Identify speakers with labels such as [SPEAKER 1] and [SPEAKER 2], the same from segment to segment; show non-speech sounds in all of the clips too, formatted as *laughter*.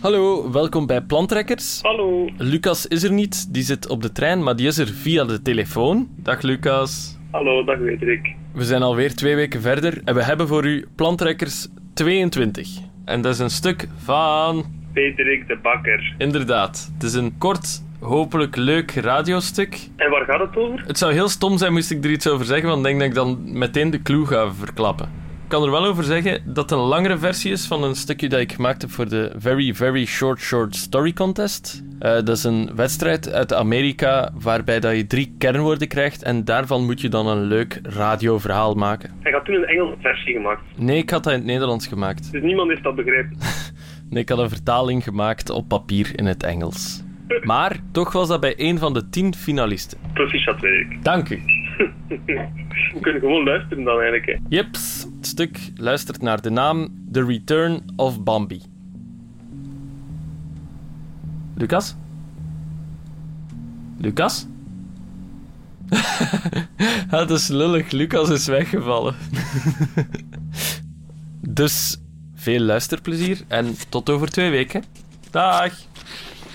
[SPEAKER 1] Hallo, welkom bij Plantrekkers.
[SPEAKER 2] Hallo.
[SPEAKER 1] Lucas is er niet, die zit op de trein, maar die is er via de telefoon. Dag Lucas.
[SPEAKER 2] Hallo, dag Wederik.
[SPEAKER 1] We zijn alweer twee weken verder en we hebben voor u Plantrekkers 22. En dat is een stuk van...
[SPEAKER 2] Wederik de Bakker.
[SPEAKER 1] Inderdaad, het is een kort, hopelijk leuk radiostuk.
[SPEAKER 2] En waar gaat het over?
[SPEAKER 1] Het zou heel stom zijn moest ik er iets over zeggen, want ik denk dat ik dan meteen de clue ga verklappen. Ik kan er wel over zeggen dat het een langere versie is van een stukje dat ik gemaakt heb voor de Very Very Short Short Story Contest. Eh, dat is een wedstrijd uit Amerika waarbij dat je drie kernwoorden krijgt en daarvan moet je dan een leuk radioverhaal maken.
[SPEAKER 2] Hij had toen een Engelse versie gemaakt.
[SPEAKER 1] Nee, ik had dat in het Nederlands gemaakt.
[SPEAKER 2] Dus niemand heeft dat begrepen.
[SPEAKER 1] Nee, ik had een vertaling gemaakt op papier in het Engels. Maar toch was dat bij een van de tien finalisten.
[SPEAKER 2] Proficiat Wederik.
[SPEAKER 1] Dank u.
[SPEAKER 2] *laughs* We kunnen gewoon luisteren dan eigenlijk. Hè.
[SPEAKER 1] Jeps, het stuk luistert naar de naam The Return of Bambi. Lucas? Lucas? *laughs* Het is lullig, Lucas is weggevallen. *laughs* dus veel luisterplezier en tot over twee weken. Dag!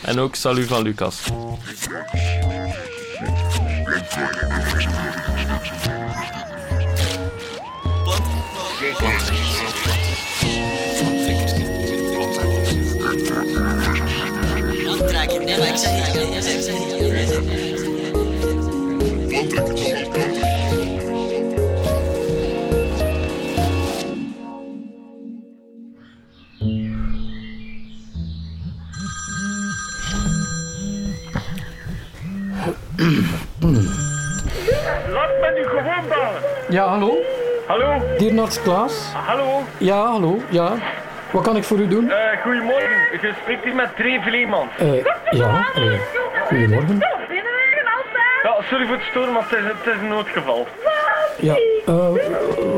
[SPEAKER 1] En ook salu van Lucas.
[SPEAKER 3] Plantrekker. Nee, maar ik zeg het niet. Ik zeg het niet.
[SPEAKER 4] Laat mij nu gewoon bellen.
[SPEAKER 5] Ja, hallo?
[SPEAKER 4] Hallo,
[SPEAKER 5] Diernaarts Klaas?
[SPEAKER 4] hallo.
[SPEAKER 5] Ja, hallo, ja. Wat kan ik voor u doen?
[SPEAKER 4] Eh goedemorgen. Je spreekt hier met Dre Vleeman.
[SPEAKER 5] Eh, ja, eh, goedemorgen.
[SPEAKER 4] Ja, sorry voor het storen, maar het is, het is een noodgeval.
[SPEAKER 5] Ja, eh,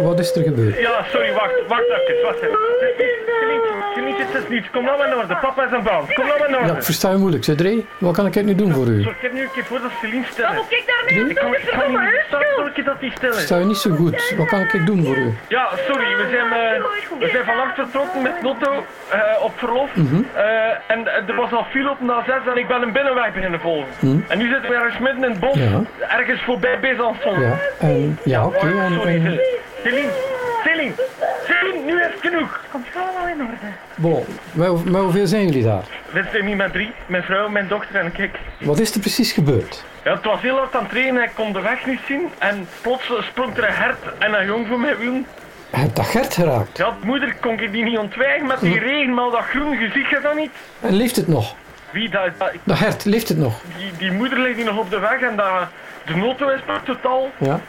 [SPEAKER 5] wat is er gebeurd?
[SPEAKER 4] Ja, sorry, wacht, wacht even, wacht even. Het is niet- Geliefd, geliefd, het is niets. Kom nou maar in orde, papa is aan baan. Kom nou maar in
[SPEAKER 5] Ja,
[SPEAKER 4] orde.
[SPEAKER 5] ik versta je moeilijk, zei Dree. Wat kan ik nu doen voor u?
[SPEAKER 4] Zorg er nu een keer voor dat Celine stil is.
[SPEAKER 6] Kijk daar nu,
[SPEAKER 4] Ik kan, ik kan niet meer staan, zorg je dat die stil is.
[SPEAKER 5] Versta je niet zo goed. Wat kan ik doen voor u?
[SPEAKER 4] Ja, sorry, we zijn, eh, we zijn vannacht vertrokken met Lotto eh, op verlof.
[SPEAKER 5] Mhm.
[SPEAKER 4] Eh, en eh, er was al file op na zes en ik ben een binnenweg beginnen volgen. En nu zitten we ergens midden in het bos,
[SPEAKER 5] Mhm. Ja.
[SPEAKER 4] ergens voorbij Besançon.
[SPEAKER 5] Ja, en... Ja, oké,
[SPEAKER 4] Oh,
[SPEAKER 5] en...
[SPEAKER 4] sorry,
[SPEAKER 5] en
[SPEAKER 4] Celine. Celine, Celine, Celine, nu is het genoeg.
[SPEAKER 6] komt allemaal in orde.
[SPEAKER 5] bon, met, met hoeveel zijn jullie daar?
[SPEAKER 4] Dit zijn niet mijn drie, mijn vrouw, mijn dochter en ik.
[SPEAKER 5] Wat is er precies gebeurd?
[SPEAKER 4] Ja, het was heel hard aan het trainen, ik kon de weg niet zien. En plots sprong er een hert en een jong voor mijn wiel.
[SPEAKER 5] Heb dat Gert geraakt?
[SPEAKER 4] Ja, moeder kon ik die niet ontwijken met
[SPEAKER 5] Mhm.
[SPEAKER 4] die regen, maar dat groen, je ziet je dat niet?
[SPEAKER 5] En leeft het nog?
[SPEAKER 4] Wie dat, dat-
[SPEAKER 5] Dat Gert, leeft het nog?
[SPEAKER 4] die, die moeder ligt hier nog op de weg en dat, de auto is per totaal.
[SPEAKER 5] Ja?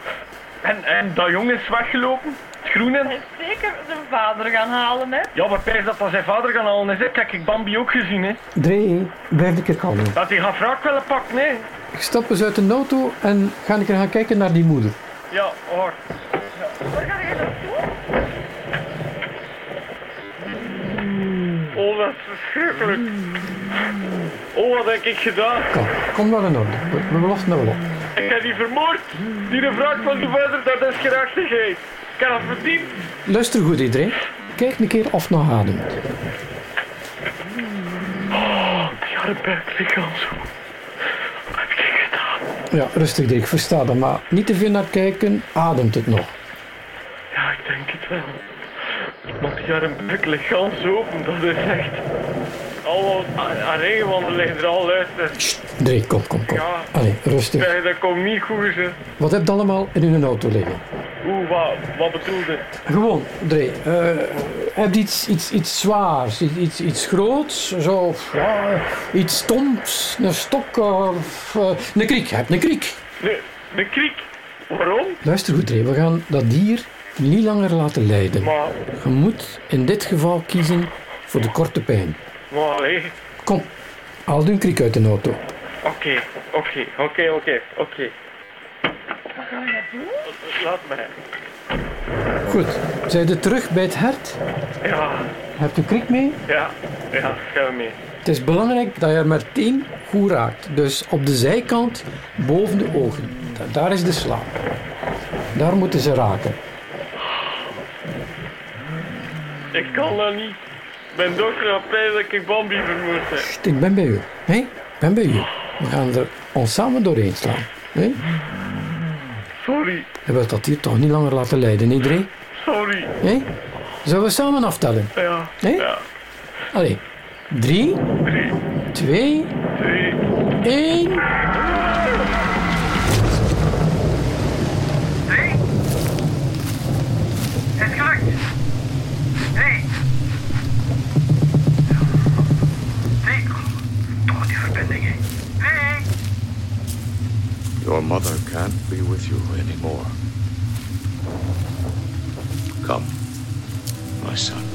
[SPEAKER 4] En, en dat jong is weggelopen, het
[SPEAKER 6] Hij
[SPEAKER 4] groene.
[SPEAKER 6] is zeker zijn vader gaan halen, hè?
[SPEAKER 4] Ja, maar pijs dat dat zijn vader gaan halen is, hè. Kijk, ik Bambi ook gezien, hè.
[SPEAKER 5] Dree, blijf een keer kalm.
[SPEAKER 4] Dat hij gaat wraak willen pakken, hè.
[SPEAKER 5] Ik stap eens uit de auto en ga een keer gaan kijken naar die moeder.
[SPEAKER 4] Ja, hoor.
[SPEAKER 6] Waar ga je naartoe?
[SPEAKER 4] Oh, dat is verschrikkelijk. Oh, wat heb ik gedaan?
[SPEAKER 5] Kom, kom wel in orde. We, we lossen dat wel op.
[SPEAKER 4] Ik heb die vermoord. Die vraag van die vader, dat is gerechtigheid. Ik heb dat verdiend.
[SPEAKER 5] Luister goed, iedereen. Kijk een keer of nog ademt.
[SPEAKER 4] Die harde buik, die kan zo. Wat heb ik gedaan?
[SPEAKER 5] Ja, rustig, Dirk. Versta dat, maar niet te veel naar kijken. Ademt het nog?
[SPEAKER 4] Ja, ik denk het wel. Want die harde buik ligt gans open, dat is echt... Al aan regenwanden liggen er al uit. Dus
[SPEAKER 5] Dirk, kom, kom, kom.
[SPEAKER 4] Ja.
[SPEAKER 5] Allee, rustig.
[SPEAKER 4] ja, dat komt niet goed, ze.
[SPEAKER 5] Wat heb je allemaal in uw auto liggen?
[SPEAKER 4] Oeh, wat, wat bedoelde?
[SPEAKER 5] Gewoon, Dre. eh heb je iets, iets, iets zwaars, iets, iets, iets groots, zo, ja, eh, iets stomps, een stok of eh, een kriek? Heb een kriek?
[SPEAKER 4] De, de kriek. Waarom?
[SPEAKER 5] Luister goed, Dre. We gaan dat dier niet langer laten lijden.
[SPEAKER 4] Maar,
[SPEAKER 5] Je moet in dit geval kiezen voor de korte pijn.
[SPEAKER 4] maar allee.
[SPEAKER 5] Kom, haal de kriek uit de auto.
[SPEAKER 4] Oké, oké, oké, oké, oké. Laat mij.
[SPEAKER 5] Goed, zijn de terug bij het hert?
[SPEAKER 4] Ja,
[SPEAKER 5] Heb je kriek mee?
[SPEAKER 4] ja, ja, ga mee.
[SPEAKER 5] Het is belangrijk dat je er meteen goed raakt. Dus op de zijkant, boven de ogen. Da- Daar is de slaap. Daar moeten ze raken.
[SPEAKER 4] Ik kan dat niet. Mijn dochter had pijn dat ik Bambi vermoord heb.
[SPEAKER 5] Sst, ik ben bij u. Nee, ik ben bij u. We gaan er ons samen doorheen slaan. Nee?
[SPEAKER 4] Sorry,
[SPEAKER 5] Je wilt dat hier toch niet langer laten leiden, iedereen?
[SPEAKER 4] sorry.
[SPEAKER 5] Nee? Zullen we samen aftellen?
[SPEAKER 4] Ja,
[SPEAKER 5] Nee?
[SPEAKER 4] ja.
[SPEAKER 5] Allee. Drie,
[SPEAKER 4] Drie,
[SPEAKER 5] twee,
[SPEAKER 4] twee,
[SPEAKER 5] één.
[SPEAKER 7] Drie. Het gelukt. Drie. Drie. Toch die verbindingen. Drie.
[SPEAKER 8] Your mother can't be with you anymore. Come, my son.